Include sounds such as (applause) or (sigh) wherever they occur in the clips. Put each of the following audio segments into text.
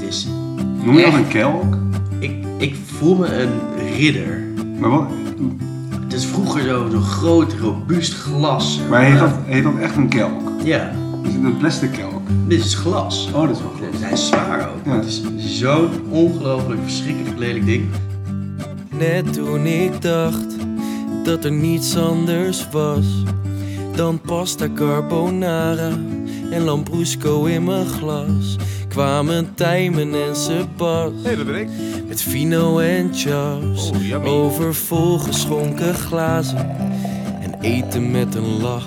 is. Noem je dat Echt? een kelk? Ik, ik voel me een ridder. Maar, wat, Het is vroeger zo, zo groot, robuust glas. maar heet, dat, heet dat echt een kelk? Ja, Is het een plastic kelk? dit is glas. Oh, dat is wel goed. Hij is zwaar ook. Ja. Het is zo'n ongelooflijk verschrikkelijk lelijk ding. Net toen ik dacht dat er niets anders was dan pasta carbonara en lambrusco in mijn glas, kwamen Tijmen en Sebas Hé, dat ben ik. met Vino en Chaps Oh, yummy. over volgeschonken glazen en eten met een lach.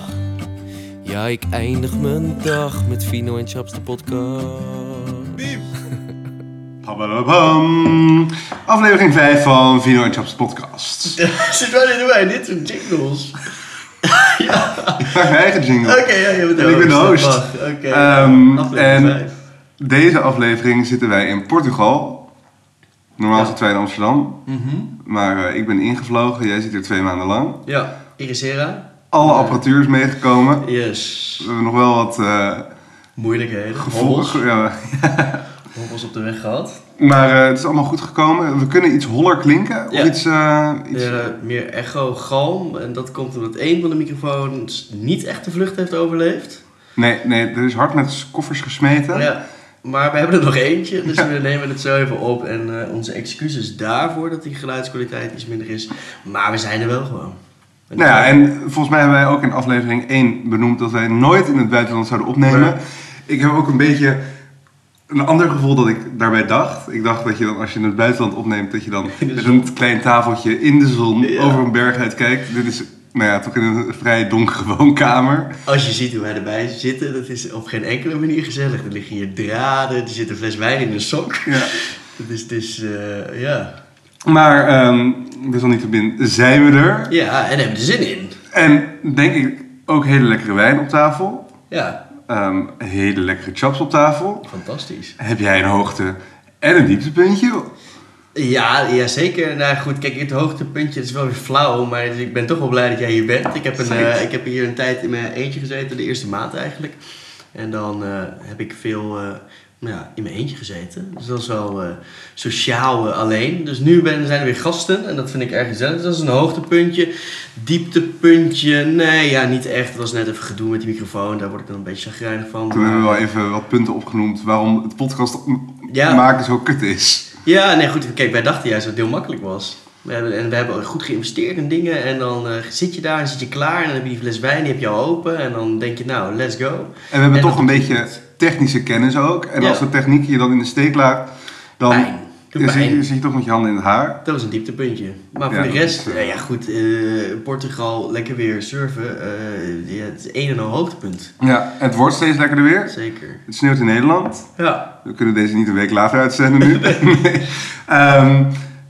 Ja, ik eindig mijn dag met Vino en Chaps de podcast. Pabadabam. Aflevering 5 van Vino en Chaps podcast. Zit wel in wij dit soort jingles. Ik maak mijn eigen jingle. Oké, ja, je bent En ik ben de host. Wacht, Oké. Ehm, aflevering en- vijf. Deze aflevering zitten wij in Portugal. Normaal Ja. zitten wij in Amsterdam. Mhm. Maar eh, ik ben ingevlogen. Jij zit hier twee maanden lang. Ja, Irisera. Alle apparatuur is meegekomen. We Yes. hebben nog wel wat eh Moeilijkheden. Hobbels. gevolgen. Ja. Hobbels op de weg gehad. Maar eh, het is allemaal goed gekomen. We kunnen iets holler klinken. Ja. Of iets... eh, iets Eh, meer echo, galm. En dat komt omdat één van de microfoons niet echt de vlucht heeft overleefd. Nee, nee, er is hard met koffers gesmeten. Ja. Maar we hebben er nog eentje, dus we nemen het zo even op. En eh, onze excuses daarvoor dat die geluidskwaliteit iets minder is. Maar we zijn er wel gewoon. En Nou ja, en volgens mij hebben wij ook in aflevering 1 benoemd dat wij nooit in het buitenland zouden opnemen. Ik heb ook een beetje een ander gevoel dat ik daarbij dacht. Ik dacht dat je dan, als je in het buitenland opneemt, dat je dan In de met zon. een klein tafeltje in de zon Ja. over een berg uit kijkt. Dit is, nou ja, toch in een vrij donkere (laughs) woonkamer. Als je ziet hoe wij erbij zitten, dat is op geen enkele manier gezellig. Er liggen hier draden, er zit een fles wijn in een sok. Ja. Dat is dus, eh, ja. Maar, ehm desalniettemin zijn we er. Ja, en hebben er zin in. En denk ik ook hele lekkere wijn op tafel. Ja, Ehm, hele lekkere chaps op tafel. fantastisch. Heb jij een hoogte en een dieptepuntje? Ja, ja zeker. Nou goed, kijk, het hoogtepuntje het is wel weer flauw, maar ik ben toch wel blij dat jij hier bent. Ik heb, een, Zeker. eh, ik heb hier een tijd in mijn eentje gezeten, de eerste maand eigenlijk. En dan eh, heb ik veel eh, nou ja, in mijn eentje gezeten. Dus dat is wel eh, sociaal eh, alleen. Dus nu ben, zijn er weer gasten en dat vind ik erg gezellig. Dus dat is een hoogtepuntje. Dieptepuntje, nee, ja, niet echt. Dat was net even gedoe met die microfoon, daar word ik dan een beetje chagrijnig van. Toen hebben we wel even wat punten opgenoemd waarom het podcast m- Ja. maken zo kut is. Ja, nee, goed. Kijk, wij dachten juist dat het heel makkelijk was. We hebben, en we hebben goed geïnvesteerd in dingen. En dan eh, zit je daar en zit je klaar. En dan heb je die fles wijn, die heb je al open. En dan denk je, nou, let's go. En we hebben En toch dat een doet beetje het. technische kennis ook. En Ja. als de techniek je dan in de steek laat, dan Pijn. Doet dan zit, pijn. je, zit je toch met je handen in het haar. Dat was een dieptepuntje. Maar Ja, voor de dat rest, is, eh, eh, ja goed, eh, Portugal, lekker weer surfen. eh, ja, het is een en al hoogtepunt. Ja, het wordt steeds lekkerder weer. Zeker. Het sneeuwt in Nederland. Ja. We kunnen deze niet een week later uitzenden nu. (laughs) Nee. Ehm,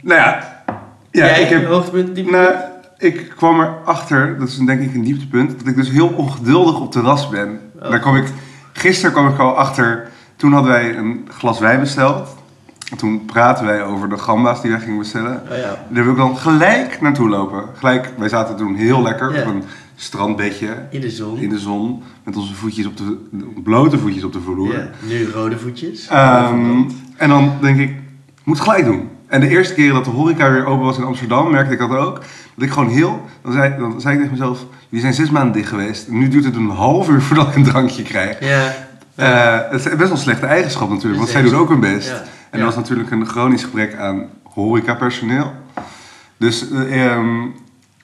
nou ja. ja Jij, ik heb, hoogtepunt, dieptepunt? nou, ik kwam erachter, dat is denk ik een dieptepunt, dat ik dus heel ongeduldig op terras ben. Oh. Daar kwam ik, gisteren kwam ik al achter, toen hadden wij een glas wijn besteld. En Toen praten wij over de gamba's die wij gingen bestellen. Oh, ja. Daar wil ik dan gelijk naartoe lopen. Gelijk, wij zaten toen heel lekker Ja. op een strandbedje In de zon. in de zon. Met onze voetjes op de, blote voetjes op de vloer. Ja. Nu rode voetjes. Ehm, en dan denk ik, moet het gelijk doen. En de eerste keer dat de horeca weer open was in Amsterdam, merkte ik dat ook. Dat ik gewoon heel, dan zei, dan zei ik tegen mezelf, jullie zijn zes maanden dicht geweest. Nu duurt het een half uur voordat ik een drankje krijg. ja. Eh, het is best wel een slechte eigenschap natuurlijk, want Dus zij deze- doen ook hun best. Ja. Ja. En er was natuurlijk een chronisch gebrek aan horecapersoneel. Dus, eh, ehm, Het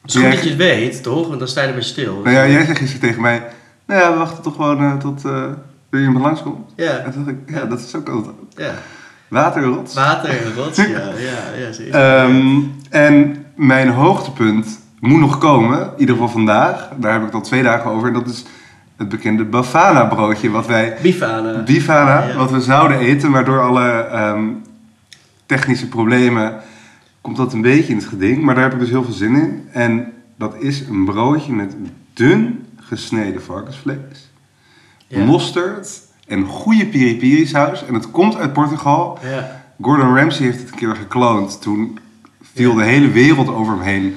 is goed jij- dat je het weet, toch? Want dan sta je er weer stil. nou ja, jij zei gisteren tegen mij, nou ja, we wachten toch gewoon eh, tot eh er iemand langskomt. En ja. toen dacht ik, ja, dat is ook altijd ja. waterrots. Water en rots, ja, ja, ja, zeker. Ehm, en mijn hoogtepunt moet nog komen, in ieder geval vandaag. Daar heb ik al twee dagen over. En dat is het bekende Bafana broodje, wat wij, Bifana. Bifana, eh, Ja. wat we zouden eten. Maar door alle ehm, technische problemen komt dat een beetje in het geding. Maar daar heb ik dus heel veel zin in. En dat is een broodje met dun gesneden varkensvlees, Ja. mosterd en goede piri-piri saus. En het komt uit Portugal. Ja. Gordon Ramsay heeft het een keer gekloond. Toen viel de hele wereld over hem heen.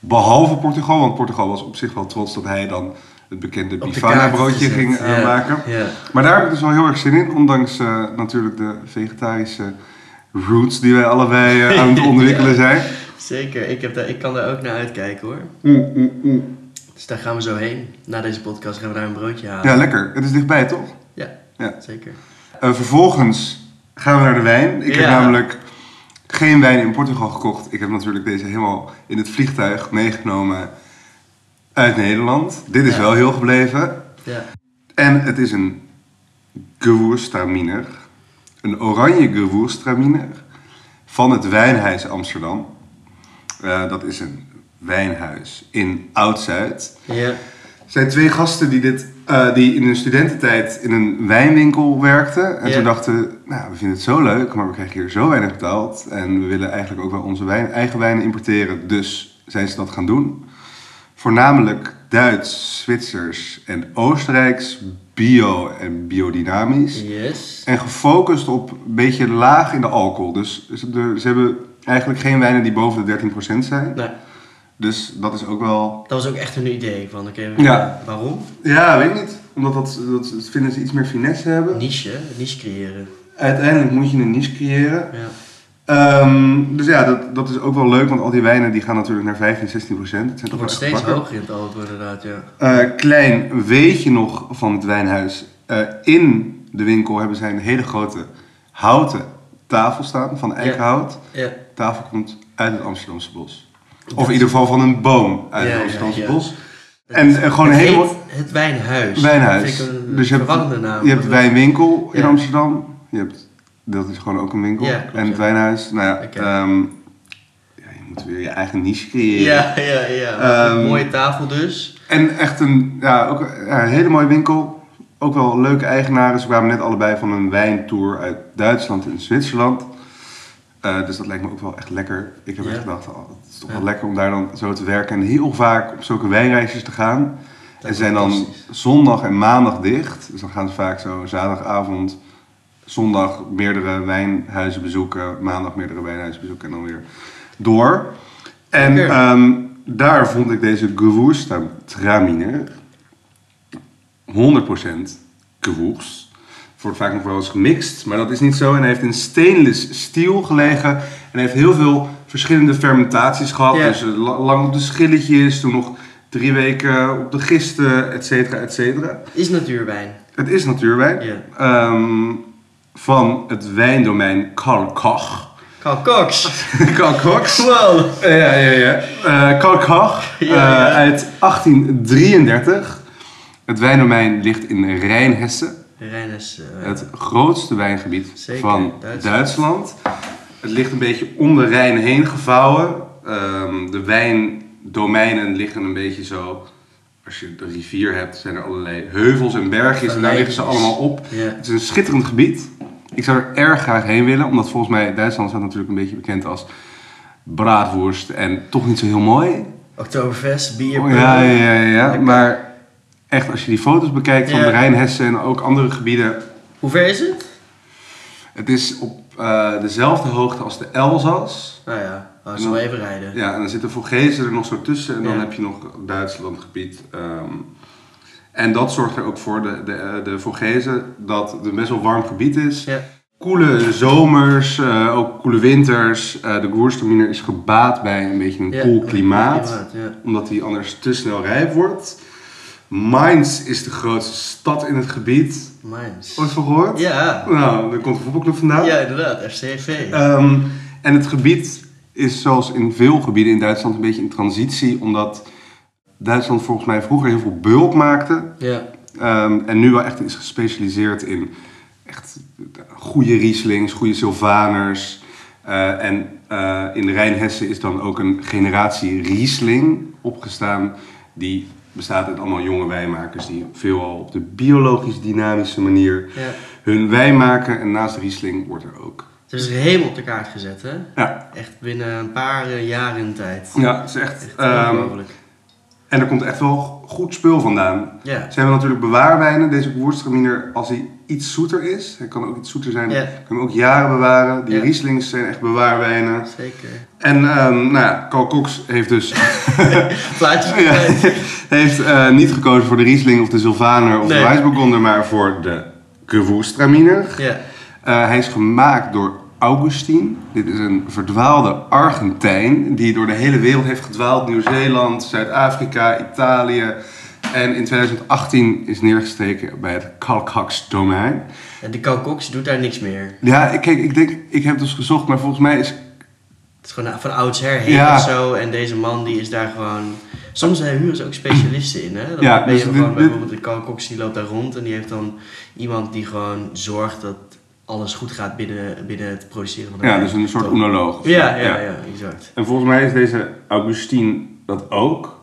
Behalve Portugal, want Portugal was op zich wel trots dat hij dan het bekende Op de Bifana kaart broodje gezet. ging eh, Ja, maken. Ja. Maar daar heb ik dus wel heel erg zin in, ondanks eh, natuurlijk de vegetarische roots die wij allebei eh, aan het ontwikkelen (laughs) Ja. zijn. Zeker, ik, heb daar, ik kan daar ook naar uitkijken hoor. Oeh, oeh, oeh. Dus daar gaan we zo heen. Na deze podcast gaan we daar een broodje halen. Ja, lekker. Het is dichtbij, toch? Ja. Zeker. Eh, vervolgens gaan we naar de wijn. Ik heb Ja. namelijk geen wijn in Portugal gekocht. Ik heb natuurlijk deze helemaal in het vliegtuig meegenomen uit Nederland. Dit is Ja. wel heel gebleven. Ja. En het is een Gewürztraminer. Een oranje Gewürztraminer van het Wijnhuis Amsterdam. Eh, dat is een wijnhuis in Oud-Zuid. Ja. Er zijn twee gasten die, dit, eh, die in hun studententijd in een wijnwinkel werkten. En Ja. toen dachten, nou, we vinden het zo leuk, maar we krijgen hier zo weinig betaald. En we willen eigenlijk ook wel onze wijn, eigen wijnen importeren. Dus zijn ze dat gaan doen. Voornamelijk Duits, Zwitsers en Oostenrijks bio en biodynamisch. Yes. En gefocust op een beetje laag in de alcohol. Dus ze, de- ze hebben eigenlijk geen wijnen die boven de 13% zijn. Nou, Dus dat is ook wel dat was ook echt een idee van, oké, Ja. waarom? Ja, weet ik niet. Omdat dat, dat vinden ze iets meer finesse hebben. Niche, hè? niche creëren. Uiteindelijk moet je een niche creëren. Ja. Ehm, dus ja, dat, dat is ook wel leuk, want al die wijnen die gaan natuurlijk naar 15, 16 procent. Het Het zijn toch wordt wel echt steeds bakken. hoger in het alcohol inderdaad, ja. Eh, klein weetje nog van het wijnhuis. Eh, in de winkel hebben zij een hele grote houten tafel staan van eikenhout. Ja. De tafel komt uit het Amsterdamse bos. Of in ieder geval van een boom uit Ja, het ja, Amsterdamse ja. bos. En, eh, gewoon een het hele heet mo- Het Wijnhuis. Wijnhuis. Dus Dat vind ik een je hebt, verwarrende naam. je hebt wijnwinkel in Ja. Amsterdam. Je hebt, dat is gewoon ook een winkel. Ja, klopt, en het ja. wijnhuis. Nou ja, Oké. ehm, ja, je moet weer je eigen niche creëren. Ja, ja, ja. Ehm, mooie tafel dus. En echt een, ja, ook, ja, een hele mooie winkel. Ook wel leuke eigenaren. Ze kwamen net allebei van een wijntour uit Duitsland en Zwitserland. Eh, dus dat lijkt me ook wel echt lekker. Ik heb Ja. echt gedacht, oh, het is toch wel Ja. lekker om daar dan zo te werken. En heel vaak op zulke wijnreisjes te gaan. En is zijn dan fantastisch. zondag en maandag dicht. Dus dan gaan ze vaak zo zaterdagavond, zondag meerdere wijnhuizen bezoeken, maandag meerdere wijnhuizen bezoeken en dan weer door. En Lekker. ehm, daar vond ik deze Gewürztraminer 100% Gewürz. Wordt vaak nog wel eens gemixt, maar dat is niet zo. En hij heeft in stainless steel gelegen. En hij heeft heel veel verschillende fermentaties gehad. Ja. Dus eh, la- lang op de schilletjes, toen nog drie weken op de gisten, et cetera, et cetera. Is natuurwijn. Het is natuurwijn. Ja. Ehm, van het wijndomein Karl Koch. (laughs) Carl Cox. Karl Koch? Wow. Ja, ja, ja. Eh, Karl Koch eh, Ja, ja. uit 1833. Het wijndomein ligt in Rijnhessen. Rennes. eh, Het grootste wijngebied Zeker, van Duitsland. Duitsland. Het ligt een beetje om de Rijn heen gevouwen. Ehm, de wijndomeinen liggen een beetje zo. Als je de rivier hebt, zijn er allerlei heuvels en bergjes. En daar liggen ze allemaal op. Ja. Het is een schitterend gebied. Ik zou er erg graag heen willen, omdat volgens mij Duitsland staat natuurlijk een beetje bekend als braadworst en toch niet zo heel mooi. Oktoberfest, bier. Oh, ja, ja, ja, ja. Lekker. Maar echt, als je die foto's bekijkt van Ja. de Rijnhessen en ook andere gebieden, Hoe ver is het? het is op eh, dezelfde hoogte als de Elzas. Nou ja, als En dan- we even rijden. Ja, en dan zitten Vogezen er nog zo tussen. En dan Ja. heb je nog Duitslandgebied. ehm. en dat zorgt er ook voor, de, de, eh, de Vogezen, dat het een best wel warm gebied is. Ja. Koele zomers, eh, ook koele winters. Eh, de Goersterminer is gebaat bij een beetje een Ja, koel klimaat ja. omdat die anders te snel rijp wordt. Mainz is de grootste stad in het gebied. Mainz. Ooit van gehoord? Ja. Nou, daar komt de voetbalclub vandaan. Oh, Ja, inderdaad. FCV. Ehm, en het gebied is zoals in veel gebieden in Duitsland een beetje in transitie. Omdat Duitsland volgens mij vroeger heel veel bulk maakte. Ja. ehm, en nu wel echt is gespecialiseerd in echt goede Rieslings, goede Sylvaners. Eh, en eh, in de Rijnhessen is dan ook een generatie Riesling opgestaan. Die bestaat uit allemaal jonge wijnmakers die veelal op de biologisch dynamische manier ja. hun wijn maken. En naast Riesling wordt er ook... Het is helemaal op de kaart gezet, hè? Ja, Echt binnen een paar eh, jaren tijd. Ja, het is echt. Echt eh, ehm, ongelooflijk. En er komt echt wel goed spul vandaan. Ja. Ze hebben natuurlijk bewaarwijnen. Deze woordstraminer, als hij iets zoeter is, hij kan ook iets zoeter zijn, Ja. kun je hem ook jaren bewaren. Die Ja. Rieslings zijn echt bewaarwijnen. Zeker. En ehm, nou ja, Carl Cox heeft dus Plaatjes. ja, (laughs) heeft, eh, niet gekozen voor de Riesling of de Sylvaner of Nee. de Wijsbegonder, maar voor de Gewürztraminer. Ja. Eh, hij is gemaakt door Augustine. Dit is een verdwaalde Argentijn die door de hele wereld heeft gedwaald. Nieuw-Zeeland, Zuid-Afrika, Italië. En in 2018 is neergestreken bij het Calcax domein. En de Kalkox doet daar niks meer. Ja, ik- kijk, ik denk, ik heb dus gezocht, maar volgens mij is Het is gewoon van oudsher heen Ja. of zo. En deze man die is daar gewoon... Soms zijn huren ze ook specialisten in. Hè? Dan Ja, ben je dus dit- gewoon dit- bijvoorbeeld de kalkoks die loopt daar rond. En die heeft dan iemand die gewoon zorgt dat alles goed gaat binnen, binnen het produceren van de ja, wijn. dus een soort Toch? oenoloog. of zo. Ja, ja, ja, exact. En volgens mij is deze Augustine dat ook.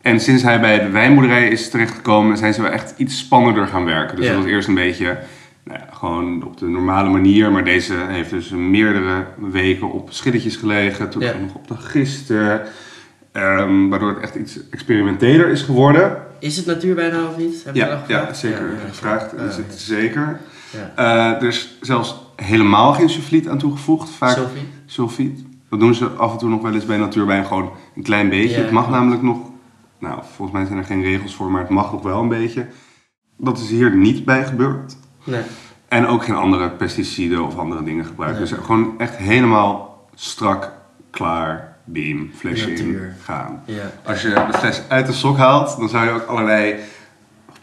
En sinds hij bij de wijnboerderij is terechtgekomen, zijn ze wel echt iets spannender gaan werken. Dus Ja. dat was eerst een beetje nou ja, gewoon op de normale manier. Maar deze heeft dus meerdere weken op schilletjes gelegen. Toen Ja. ook nog op de gisten. Ehm, waardoor het echt iets experimenteler is geworden. Is het natuurwijnhout of niet? Heb je dat Ja, al ja, gevraagd? zeker. Ja, ja. Gevraagd Ja, is ja. het zeker. Ja. Eh, er is zelfs helemaal geen sulfiet aan toegevoegd. Vaak Sophie? sulfiet. Dat doen ze af en toe nog wel eens bij natuurwijn gewoon een klein beetje. Ja, het mag klopt. namelijk nog, nou volgens mij zijn er geen regels voor, maar het mag nog wel een beetje. Dat is hier niet bij gebeurd. Nee. En ook geen andere pesticiden of andere dingen gebruiken. Nee. Dus gewoon echt helemaal strak, klaar, beam, flesje in, Natuur. gaan. Ja. Als je de fles uit de sok haalt, dan zou je ook allerlei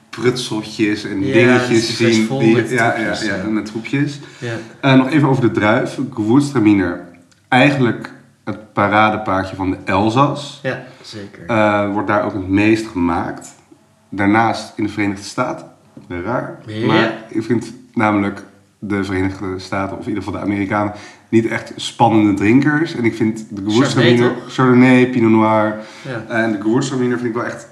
prutseltjes en Ja, dat is dingetjes de fles zien. vol met ja, ja, troepjes, ja, ja. met troepjes. Ja. Eh, nog even over de druif. Gewürztraminer. Eigenlijk het paradepaardje van de Elzas. ja, zeker. Eh, wordt daar ook het meest gemaakt. Daarnaast in de Verenigde Staten. Raar. Ja. Maar ik vind namelijk de Verenigde Staten, of in ieder geval de Amerikanen, niet echt spannende drinkers. En ik vind de Gewürztraminer, Chardonnay, Chardonnay, Pinot Noir. Ja. En de Gewürztraminer vind ik wel echt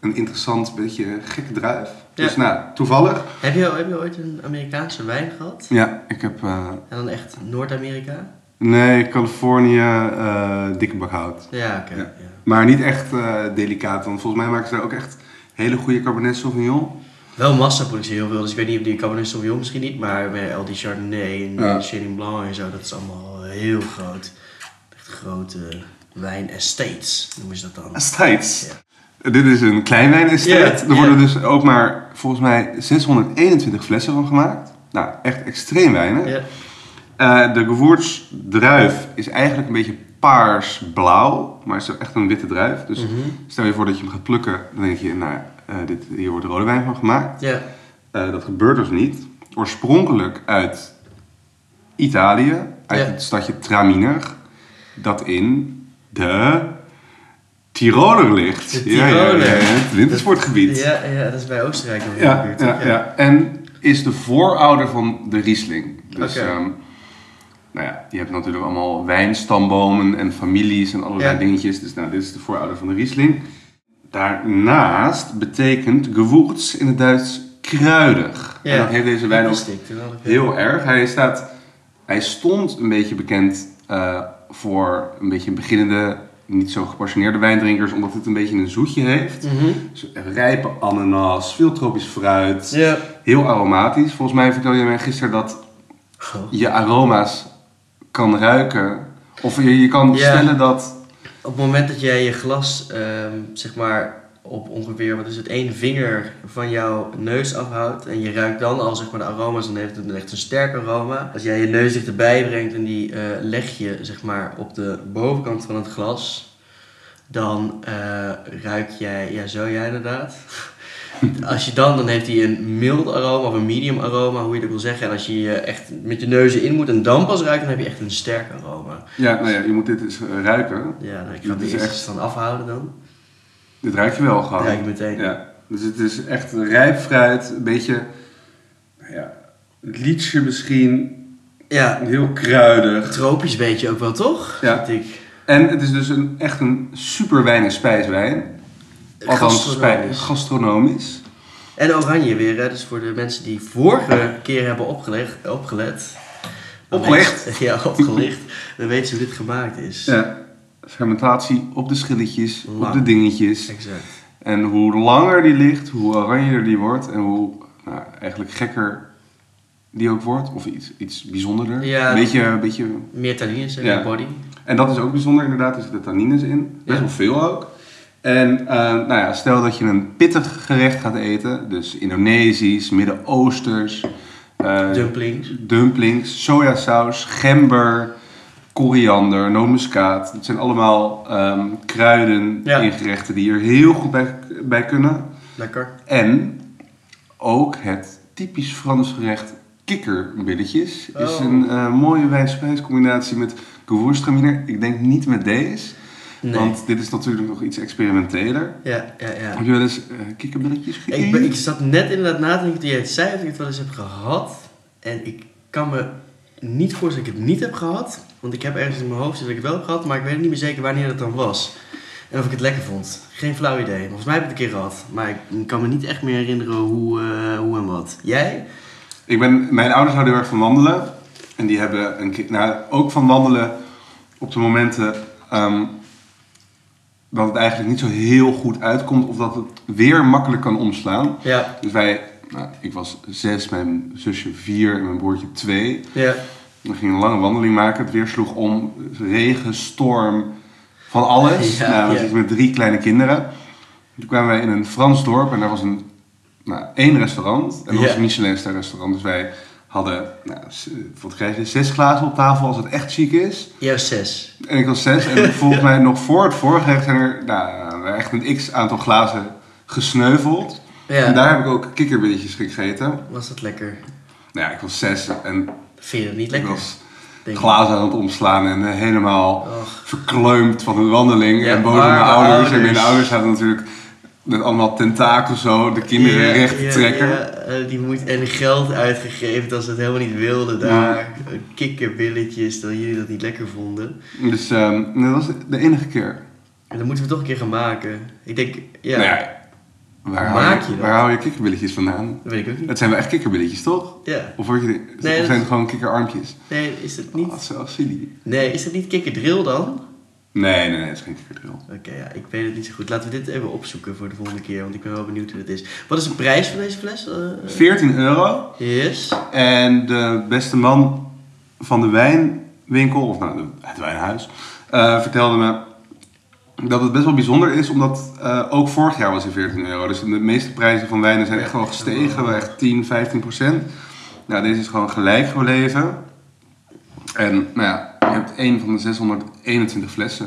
een interessant, beetje gekke druif. Ja. Dus nou, toevallig. Heb, je, heb je ooit een Amerikaanse wijn gehad? Ja, ik heb... eh, En dan echt Noord-Amerika? Nee, Californië, eh, dikke bak hout. Ja, oké. Ja. ja. Maar niet echt eh, delicaat, want volgens mij maken ze daar ook echt hele goede Cabernet Sauvignon. Wel massaproductie heel veel, dus ik weet niet of die Cabernet Sauvignon misschien niet, maar bij al die Chardonnay en Ja. ja. Chenin Blanc en zo, dat is allemaal heel groot. Echt grote wijn-estates noemen ze (laughs) dat dan. Estates. Dit is een kleinwijn estate. Ja, er worden ja. dus ook maar volgens mij 621 flessen van gemaakt. Nou, echt extreem weinig. Ja, Eh, de gewoertsdruif is eigenlijk een beetje paars-blauw, maar het is echt een witte druif. Dus Mhm. stel je voor dat je hem gaat plukken, dan denk je, nou, eh, dit, hier wordt rode wijn van gemaakt. ja, Eh, dat gebeurt dus niet. Oorspronkelijk uit Italië, uit Ja. het stadje Traminer, dat in de Tiroler ligt. De Ja, ja, ja, ja, Tiroler. het wintersportgebied. ja, ja, dat is bij Oostenrijk nog in de Ja, buurt. ja, toch? ja. En is de voorouder van de Riesling. Dus Oké. ehm, nou ja, je hebt natuurlijk allemaal wijnstambomen en families en allerlei Ja. dingetjes. Dus nou, dit is de voorouder van de Riesling. Daarnaast betekent gewoerts in het Duits kruidig. Ja. En dat heeft deze wijn ook Dat stikt er wel op, ja. heel erg. Hij, staat, hij stond een beetje bekend eh, voor een beetje beginnende, niet zo gepassioneerde wijndrinkers, omdat het een beetje een zoetje heeft. Mhm. Dus rijpe ananas, veel tropisch fruit. Ja. Heel aromatisch. Volgens mij vertelde je mij gisteren dat Goh. je aroma's kan ruiken. Of je, je kan Ja. stellen dat... Op het moment dat jij je glas, ehm, zeg maar, op ongeveer, wat is het, één vinger van jouw neus afhoudt en je ruikt dan al, zeg maar, de aroma's, dan heeft het een- echt een sterk aroma. Als jij je neus dichterbij brengt en die eh, leg je, zeg maar, op de bovenkant van het glas, dan eh, ruik jij, ja, zo jij inderdaad. (laughs) Als je dan, dan heeft hij een mild aroma of een medium aroma, hoe je dat wil zeggen. En als je je echt met je neuzen in moet en dan pas ruikt, dan heb je echt een sterk aroma. Ja, nou ja, je moet dit eens eh, ruiken. Ja, nou, ik ga Dat die is eerst echt- eens van afhouden dan. Dit ruik je wel gewoon. Ruik je meteen. Oh. Ja. Dus het is echt rijp fruit, een beetje... nou Ja, liedje misschien, Ja, heel kruidig. tropisch weet je ook wel, toch? Ja. Vind ik. En het is dus een, echt een super weinig spijswijn. Althans, Gastronomisch. spij- gastronomisch. En oranje weer, hè? dus voor de mensen die vorige keer hebben opgelegd, opgelet. dan (laughs) Opgelegd? weet- ja, opgelicht. Dan weten ze hoe dit gemaakt is. Ja, fermentatie op de schilletjes, op Lang. de dingetjes. Exact. En hoe langer die ligt, hoe oranjer die wordt en hoe nou, eigenlijk gekker die ook wordt. Of iets, iets bijzonderder. Ja. Een beetje, een beetje... Meer tannines in Ja. de body. En dat is ook bijzonder inderdaad, er zitten tannines in. Best Ja. wel veel ook. En eh, nou ja, stel dat je een pittig gerecht gaat eten, dus Indonesisch, Midden-Oosters, eh, Dumplings. dumplings, sojasaus, gember, koriander, nootmuskaat. Dat zijn allemaal ehm, kruiden Ja. in gerechten die er heel goed bij, bij kunnen. Lekker. En ook het typisch Frans gerecht kikkerbilletjes is Oh. een eh, mooie wijs-spijscombinatie met gewoerstraminer. Ik denk niet met deze, Nee. want dit is natuurlijk nog iets experimenteler. Ja, ja, ja. Heb je wel eens eh, kikkerbilletjes gegeten? Ik, ben, ik zat net inderdaad na te denken toen jij het zei of ik het wel eens heb gehad. En ik kan me niet voorstellen dat ik het niet heb gehad. Want ik heb ergens in mijn hoofd zitten dat ik het wel heb gehad, maar ik weet niet meer zeker wanneer dat dan was. En of ik het lekker vond. Geen flauw idee. Volgens mij heb ik het een keer gehad. Maar ik kan me niet echt meer herinneren hoe, eh, hoe en wat. Jij? Ik ben, mijn ouders houden heel erg van wandelen. En die hebben een, ki- nou, ook van wandelen op de momenten ehm, dat het eigenlijk niet zo heel goed uitkomt. Of dat het weer makkelijk kan omslaan. Ja. Dus wij, nou, ik was zes, mijn zusje vier en mijn broertje twee. Ja. We gingen een lange wandeling maken. Het weer sloeg om. Regen, storm, van alles. Ja, nou, we ja. zitten met drie kleine kinderen. Toen kwamen wij in een Frans dorp en daar was een, nou, één restaurant. En dat Ja. was een Michelinster restaurant. Dus wij hadden, nou, s- wat krijg je, zes glazen op tafel als het echt chic is. Jij was zes. En ik was zes. (laughs) En volgens mij nog voor het voorgerecht zijn er nou, echt een x-aantal glazen gesneuveld. En Ja. daar heb ik ook kikkerbilletjes gegeten. Nou Was dat lekker? ja, ik was zes en Vind je dat niet ik lekker? was Denk ik. glazen aan het omslaan en eh, helemaal Och. verkleumd van een wandeling. Ja, en boos op mijn arme ouders. En ouders. mijn ouders hadden natuurlijk met allemaal tentakels zo de kinderen Ja, recht ja, trekken. ja. Eh, die moet, en geld uitgegeven dat ze het helemaal niet wilden daar. Eh, Kikkerbilletjes, dat jullie dat niet lekker vonden. Dus ehm, dat was de enige keer. En dat moeten we toch een keer gaan maken. Ik denk, ja, Nou ja, waar, hou Maak je, je dat? waar hou je kikkerbilletjes vandaan? dat weet ik ook niet. Het zijn wel echt kikkerbilletjes, toch? Ja. Of, word je, of dat- zijn het gewoon kikkerarmpjes? Nee, is dat niet, Oh, zo silly. nee, is dat niet kikkerdrill dan? Nee, nee, nee, het is geen kikkerdril. Oké, ja, ik weet het niet zo goed. Laten we dit even opzoeken voor de volgende keer, want ik ben wel benieuwd hoe dat is. Wat is de prijs van deze fles? Eh, 14 euro. yes. En de beste man van de wijnwinkel, of nou, de- het wijnhuis, eh, vertelde me dat het best wel bijzonder is, omdat eh, ook vorig jaar was hij 14 euro. Dus de meeste prijzen van wijnen zijn echt wel gestegen, wel echt 10, 15 procent. Nou, deze is gewoon gelijk gebleven. En nou ja, je hebt één van de 621 flessen.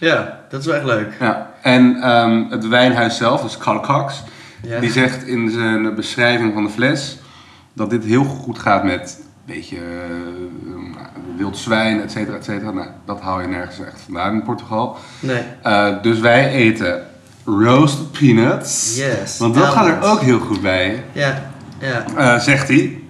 Ja, dat is wel echt leuk. Ja. En ehm, het wijnhuis zelf, dus Carl Cox, Ja. die zegt in zijn beschrijving van de fles dat dit heel goed gaat met een beetje eh, wild zwijn, et cetera, et cetera. Nou, dat hou je nergens echt vandaan in Portugal. Nee. Eh, dus wij eten roasted peanuts. Yes, Want dat gaat er almonds. ook heel goed bij, Ja, ja. eh, zegt hij.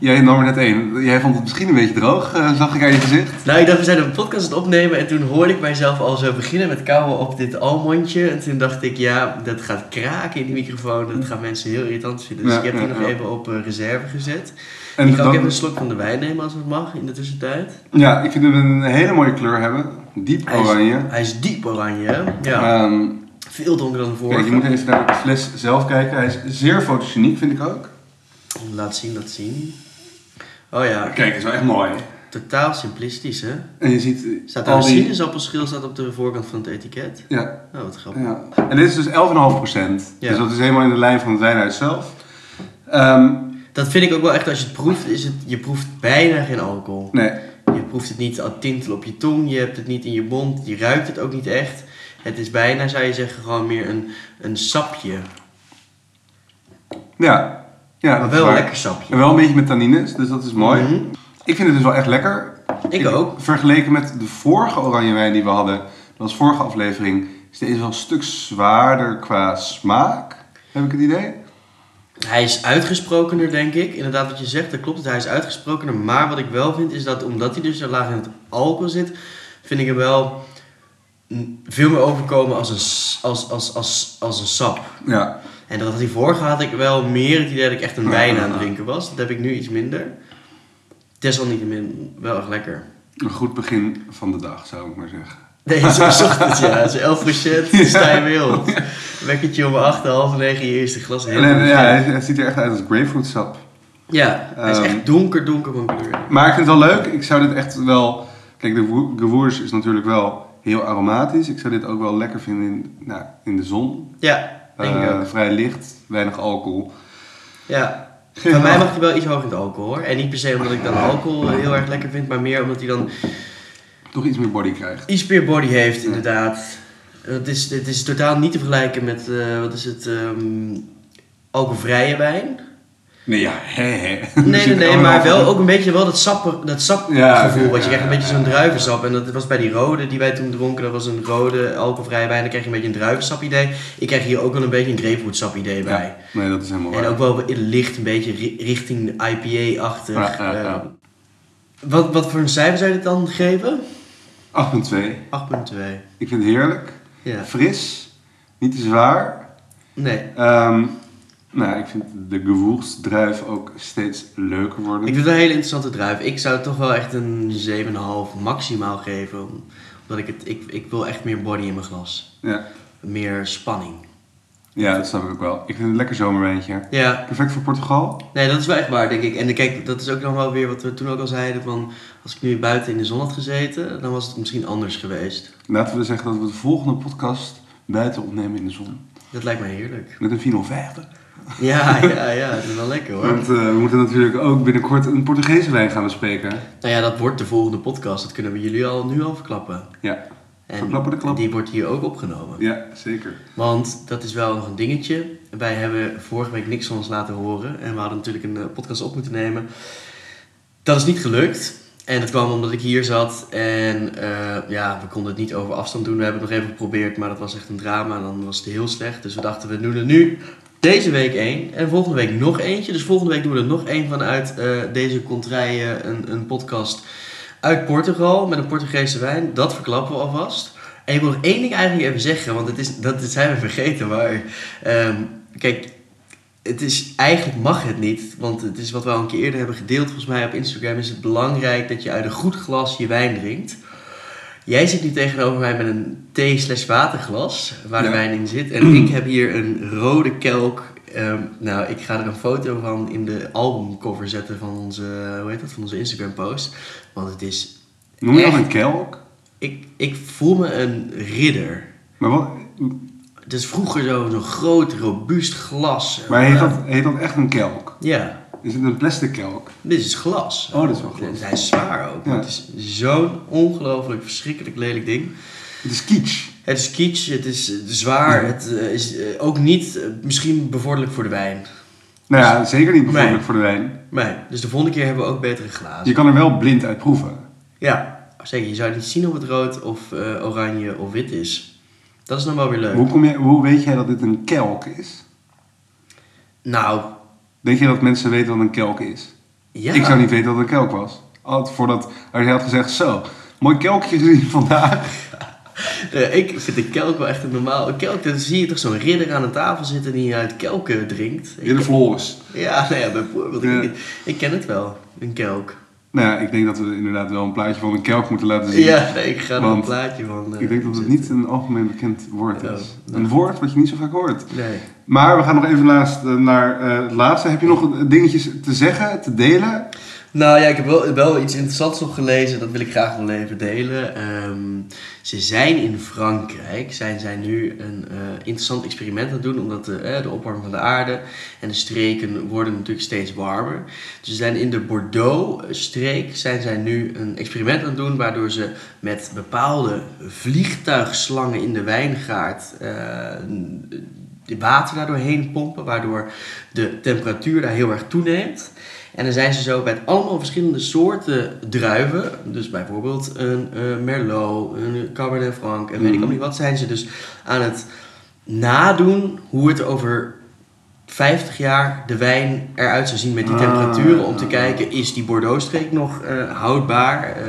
Jij nam er net één. Jij vond het misschien een beetje droog, eh, zag ik aan je gezicht. Nou, ik dacht, we zijn een podcast aan het opnemen en toen hoorde ik mijzelf al zo beginnen met kauwen op dit almondje. En toen dacht ik, ja, dat gaat kraken in die microfoon. Dat gaan mensen heel irritant vinden. Dus Ja, ik heb die ja, nog ja. even op eh, reserve gezet. En ik ga ook dan- even een slok van de wijn nemen als het mag in de tussentijd. Ja, ik vind hem een hele mooie kleur hebben. Diep Hij is- oranje. Hij is diep oranje, hè? Ja, Ehm, veel donkerder dan de Kijk, je vorige. moet even naar de fles zelf kijken. Hij is zeer fotogeniek, vind ik ook. Laat zien, laat zien. Oh ja, Kijk, is wel echt mooi. totaal simplistisch, hè? En je ziet eh, Staat daar een sinaasappelschil staat op de voorkant van het etiket. Ja, Oh, wat grappig. ja. En dit is dus 11,5 procent. Ja. Dus dat is helemaal in de lijn van het wijnhuis zelf. Ehm, Dat vind ik ook wel echt, als je het proeft, is het, je proeft bijna geen alcohol. nee, Je proeft het niet al tintel op je tong, je hebt het niet in je mond, je ruikt het ook niet echt. Het is bijna, zou je zeggen, gewoon meer een, een sapje. ja. ja Maar dat wel is een waar. lekker sapje. En wel een beetje met tannines, dus dat is mooi. Mhm. Ik vind het dus wel echt lekker. Ik ook. Vergeleken met de vorige oranje wijn die we hadden, dat was vorige aflevering, is deze wel een stuk zwaarder qua smaak, heb ik het idee. Hij is uitgesprokener, denk ik. Inderdaad, wat je zegt, dat klopt. Hij is uitgesprokener. Maar wat ik wel vind, is dat omdat hij dus zo laag in het alcohol zit, vind ik hem wel mm, veel meer overkomen als een, s- als, als, als, als een sap. Ja, En dat had hij vorige had ik wel meer het idee dat ik echt een Ja, wijn ja, aan het ja. drinken was. Dat heb ik nu iets minder. Desalniettemin wel echt lekker. Een goed begin van de dag, zou ik maar zeggen. Nee, het is ochtend, ja. Het is elf voor shit, sta je wild. Wekkertje om acht, half negen, je eerste glas. En, Heel en, goed. ja, hij, hij ziet er echt uit als grapefruitsap. ja, hij is Ehm, echt donker, donker van kleur. Maar ik vind het wel leuk. Ik zou dit echt wel... Kijk, de wo- gewoers is natuurlijk wel heel aromatisch. Ik zou dit ook wel lekker vinden in, nou, in de zon. Ja, denk ik Eh, ook. Vrij licht, weinig alcohol. Ja. Van mij mag hij wel iets hoger in het alcohol hoor. En niet per se omdat ik dan alcohol eh, heel erg lekker vind, maar meer omdat hij dan Toch iets meer body krijgt. iets meer body heeft, inderdaad. Het is, het is totaal niet te vergelijken met, eh, wat is het, ehm, alcoholvrije wijn. (laughs) Nee, ja, hè, (laughs) hè. Nee, nee, nee, maar wel ook een beetje wel dat, sapper, dat sapgevoel. Ja, ja, wat je krijgt een ja, beetje zo'n druivensap. En dat was bij die rode die wij toen dronken. Dat was een rode alcoholvrije wijn. Dan krijg je een beetje een druivensap idee. Ik krijg hier ook wel een beetje een grapefruitsap idee bij. Ja, nee, dat is helemaal En waar. ook wel licht een beetje ri- richting de IPA-achtig. Ja, ja, ja. eh. wat, wat voor een cijfer zou je dit dan geven? 8.2. 8.2. Ik vind het heerlijk. Ja. Fris. Niet te zwaar. Nee. Ehm, nou, ik vind de gewoersdruif ook steeds leuker worden. Ik vind het wel een hele interessante druif. Ik zou het toch wel echt een 7,5 maximaal geven. om- Omdat ik het... Ik, ik wil echt meer body in mijn glas. Ja. Meer spanning. ja, dat snap ik ook wel. Ik vind het een lekker zomerwijntje. Ja, Perfect voor Portugal. nee, dat is wel echt waar, denk ik. En kijk, dat is ook nog wel weer wat we toen ook al zeiden. Van, als ik nu buiten in de zon had gezeten, dan was het misschien anders geweest. Laten we dus zeggen dat we de volgende podcast buiten opnemen in de zon. Dat lijkt mij heerlijk. Met een 450. (laughs) Ja, ja, ja, dat is wel lekker hoor. Want eh, we moeten natuurlijk ook binnenkort een Portugese wijn gaan bespreken. Nou ja, dat wordt de volgende podcast. Dat kunnen we jullie al nu al verklappen. Ja, En Verklappen de klap. die wordt hier ook opgenomen. ja zeker. Want dat is wel nog een dingetje. Wij hebben vorige week niks van ons laten horen. En we hadden natuurlijk een eh, podcast op moeten nemen. Dat is niet gelukt. En dat kwam omdat ik hier zat. En eh, ja, we konden het niet over afstand doen. We hebben het nog even geprobeerd, maar dat was echt een drama. En dan was het heel slecht. Dus we dachten, we doen er nu deze week één. En volgende week nog eentje. Dus volgende week doen we er nog één vanuit eh, deze contraien. Een, een podcast uit Portugal met een Portugese wijn. Dat verklappen we alvast. En ik wil nog één ding eigenlijk even zeggen, want het is, dat, dat zijn we vergeten. Maar ehm, kijk, het is, eigenlijk mag het niet, want het is wat we al een keer eerder hebben gedeeld. Volgens mij op Instagram is het belangrijk dat je uit een goed glas je wijn drinkt. Jij zit nu tegenover mij met een thee slash waterglas waar de Ja. wijn in zit. En ik heb hier een rode kelk. Ehm, nou, ik ga er een foto van in de albumcover zetten van onze, hoe heet dat, van onze Instagram post. Want het is, Noem je dat Echt? een kelk? ik, ik voel me een ridder. Maar, wat, Het is vroeger zo- zo'n groot, robuust glas. maar heet, Ja. dat, heet dat echt een kelk? Ja, Is het een plastic kelk? dit is glas. Oh, dit is wel glas. En Hij is zwaar ook. maar Ja. Het is zo'n ongelooflijk verschrikkelijk lelijk ding. Het is kitsch. Het is kitsch, het is eh, zwaar. Het eh, is eh, ook niet eh, misschien bevorderlijk voor de wijn. Nou ja, zeker niet bijvoorbeeld Nee. voor de wijn. Nee, dus de volgende keer hebben we ook betere glazen. Je kan er wel blind uit proeven. Ja, zeker. Je zou niet zien of het rood of eh, oranje of wit is. Dat is dan wel weer leuk. Hoe, kom je, hoe weet jij dat dit een kelk is? Nou, Denk je dat mensen weten wat een kelk is? ja. Ik zou niet weten dat het een kelk was. Al- voordat als jij had gezegd, zo, mooi kelkje gezien (laughs) vandaag. Eh, ik vind de kelk wel echt een normaal. Een kelk, dan zie je toch zo'n ridder aan een tafel zitten die uit kelken drinkt. In de Floris. Ja, nou ja, bijvoorbeeld. Ja. Ik, ik ken het wel, een kelk. Nou ja, ik denk dat we inderdaad wel een plaatje van een kelk moeten laten zien. Ja, nee, ik ga er een Want plaatje van. eh, Ik denk dat het niet een algemeen bekend woord Ja, is. ja. Een woord wat je niet zo vaak hoort. Nee. Maar we gaan nog even naast, eh, naar eh, het laatste. Heb je nog eh, dingetjes te zeggen, te delen? Nou ja, ik heb wel, wel iets interessants op gelezen. Dat wil ik graag wel even delen. Ehm, ze zijn in Frankrijk. Zijn zij nu een eh, interessant experiment aan het doen. Omdat de, eh, de opwarming van de aarde en de streken worden natuurlijk steeds warmer. Dus ze zijn in de Bordeaux-streek zijn zij nu een experiment aan het doen. Waardoor ze met bepaalde vliegtuigslangen in de wijngaard... eh, de water daar doorheen pompen, waardoor de temperatuur daar heel erg toeneemt. En dan zijn ze zo bij het allemaal verschillende soorten druiven, dus bijvoorbeeld een eh, Merlot, een Cabernet Franc en weet ik Mhm. ook niet wat, zijn ze dus aan het nadoen hoe het over 50 jaar de wijn eruit zou zien met die Ah. temperaturen. Om te kijken, is die Bordeaux-streek nog eh, houdbaar? Eh,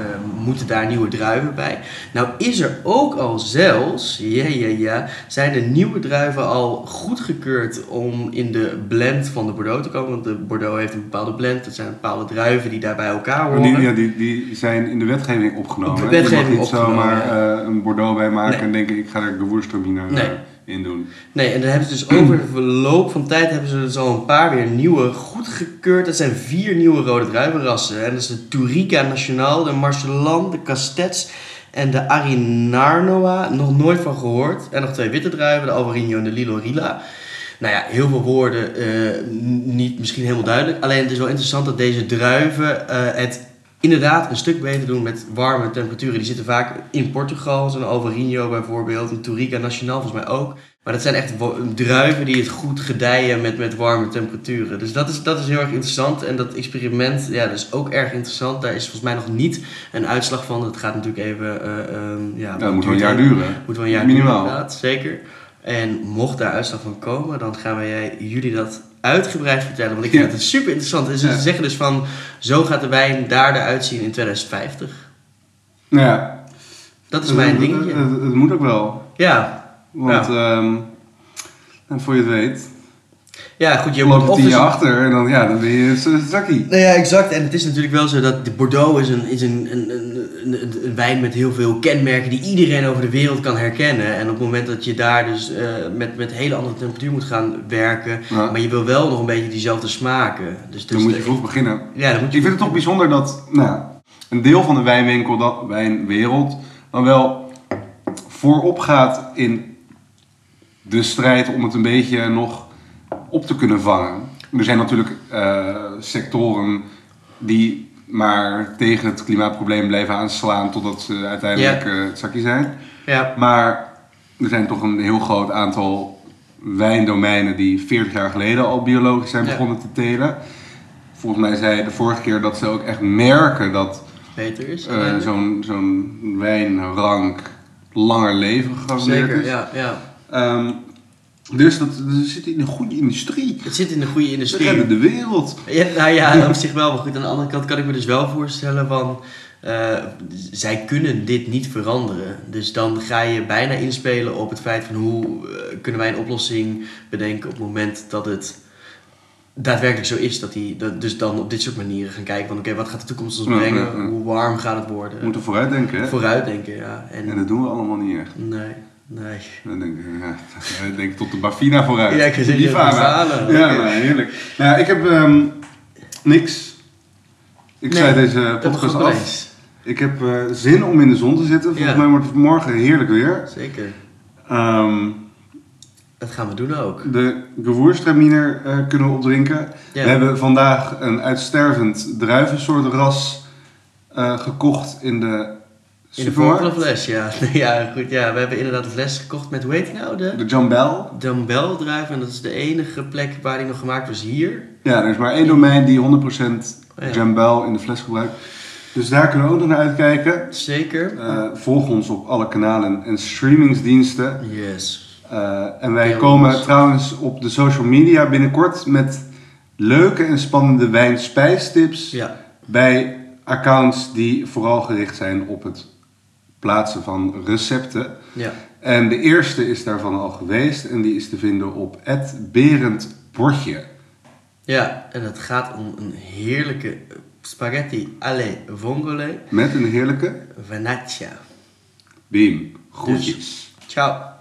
moeten daar nieuwe druiven bij? Nou is er ook al zelfs, ja ja ja, zijn de nieuwe druiven al goedgekeurd om in de blend van de Bordeaux te komen. Want de Bordeaux heeft een bepaalde blend. Dat zijn bepaalde druiven die daar bij elkaar Maar horen. die, ja, die, die zijn in de wetgeving opgenomen. Op de hè? Je mag wetgeving niet opgenomen, zomaar eh, een Bordeaux bij maken Nee. en denken ik ga er gewoerstamina Nee. eh, in doen. Nee, en dan hebben ze dus over de verloop van tijd hebben ze dus al een paar weer nieuwe goedgekeurd. Dat zijn vier nieuwe rode druivenrassen. En dat is de Tourica Nacional, de Marcelan, de Castets en de Arinarnoa. Nog nooit van gehoord. En nog twee witte druiven, de Alvarinho en de Lilo Rila. Nou ja, heel veel woorden, eh, n- niet misschien helemaal duidelijk. Alleen het is wel interessant dat deze druiven eh, het inderdaad een stuk beter doen met warme temperaturen. Die zitten vaak in Portugal, zo'n Alvarinho bijvoorbeeld, een Tourica Nacional volgens mij ook. Maar dat zijn echt wo- druiven die het goed gedijen met, met warme temperaturen. Dus dat is, dat is heel erg interessant. En dat experiment, ja, dat is ook erg interessant. Daar is volgens mij nog niet een uitslag van. Dat gaat natuurlijk even... eh, ehm, ja, Ja, dat moet wel een duurt jaar even. duren. Moet wel een jaar Minimaal. duren, inderdaad, zeker. En mocht daar uitslag van komen, dan gaan wij jij- jullie dat uitgebreid vertellen. Want ik vind Ja. het super interessant. En Ze Ja. zeggen dus van, zo gaat de wijn daar eruit zien in 2050. Nou ja, Dat is mijn het- dingetje. Het, het- het moet ook wel. Ja, Want ehm, en voor je het weet, ja goed. Je je moet loopt er of tien dus- jaar achter en dan, ja, dan ben je z- zakkie. Nou ja, exact. En het is natuurlijk wel zo dat de Bordeaux is, een, is een, een, een, een, een wijn met heel veel kenmerken die iedereen over de wereld kan herkennen. En op het moment dat je daar dus eh, met, met hele andere temperatuur moet gaan werken, Ja. maar je wil wel nog een beetje diezelfde smaken. Dus, dus Dan moet de- je vroeg beginnen. Ja, dan moet je... Ik vind het toch bijzonder dat nou, ja, een deel van de wijnwinkel, dat wijnwereld, dan wel voorop gaat in de strijd om het een beetje nog op te kunnen vangen. Er zijn natuurlijk eh, sectoren die maar tegen het klimaatprobleem blijven aanslaan totdat ze uiteindelijk eh, het zakje zijn. Ja, Maar er zijn toch een heel groot aantal wijndomeinen die 40 jaar geleden al biologisch zijn Ja. begonnen te telen. Volgens mij zei je de vorige keer dat ze ook echt merken dat beter is. eh, zo'n zo'n wijnrank langer leven gegarandeerd Zeker, is. ja, ja. Ehm, dus dat, dat zit in een goede industrie. Het zit in de goede Ze industrie. redden de wereld. Ja, nou ja, op zich wel. Maar goed, aan de andere kant kan ik me dus wel voorstellen van... eh, zij kunnen dit niet veranderen. Dus dan ga je bijna inspelen op het feit van... hoe eh, kunnen wij een oplossing bedenken op het moment dat het daadwerkelijk zo is. Dat die, dat, dus dan op dit soort manieren gaan kijken van... oké, wat gaat de toekomst ons Ja, ja, brengen? ja. Hoe warm gaat het We worden? moeten vooruitdenken, hè? Vooruitdenken, ja. En, En dat doen we allemaal niet echt. Nee, nee. Dan denk ik, ja, (laughs) dan denk ik tot de Bafina vooruit. Ja, ik zou zeggen, Die Fana. Bafana. Ja, Oké. nou, heerlijk. Nou, ik heb ehm, niks. Ik Nee, zei deze Dat podcast goed af. bewijs. Ik heb eh, zin om in de zon te zitten. Volgens Ja. mij wordt het morgen heerlijk weer. Zeker. Ehm, Dat gaan we doen ook. de gewoerstraminer eh, kunnen we opdrinken. Ja. We hebben vandaag een uitstervend druivensoort ras eh, gekocht in de In de supermarkt. volgende fles, ja. (laughs) Nee, ja, goed, ja. We hebben inderdaad een fles gekocht met, hoe heet die nou? De de Jambel. Dumbbell druiven. En dat is de enige plek waar die nog gemaakt was hier. Ja, er is maar één domein die 100% Oh, Ja. Jambel in de fles gebruikt. Dus daar kunnen we ook nog naar uitkijken. Zeker. Eh, volg ons op alle kanalen en streamingsdiensten. Yes. Eh, en wij Ja, komen jongens. trouwens op de social media binnenkort met leuke en spannende wijnspijstips Ja, bij accounts die vooral gericht zijn op het plaatsen van recepten. ja. En de eerste is daarvan al geweest en die is te vinden op @berendbordje. Ja, en het gaat om een heerlijke spaghetti alle vongole Met een heerlijke vanaccia. Beam. Groetjes. Ciao.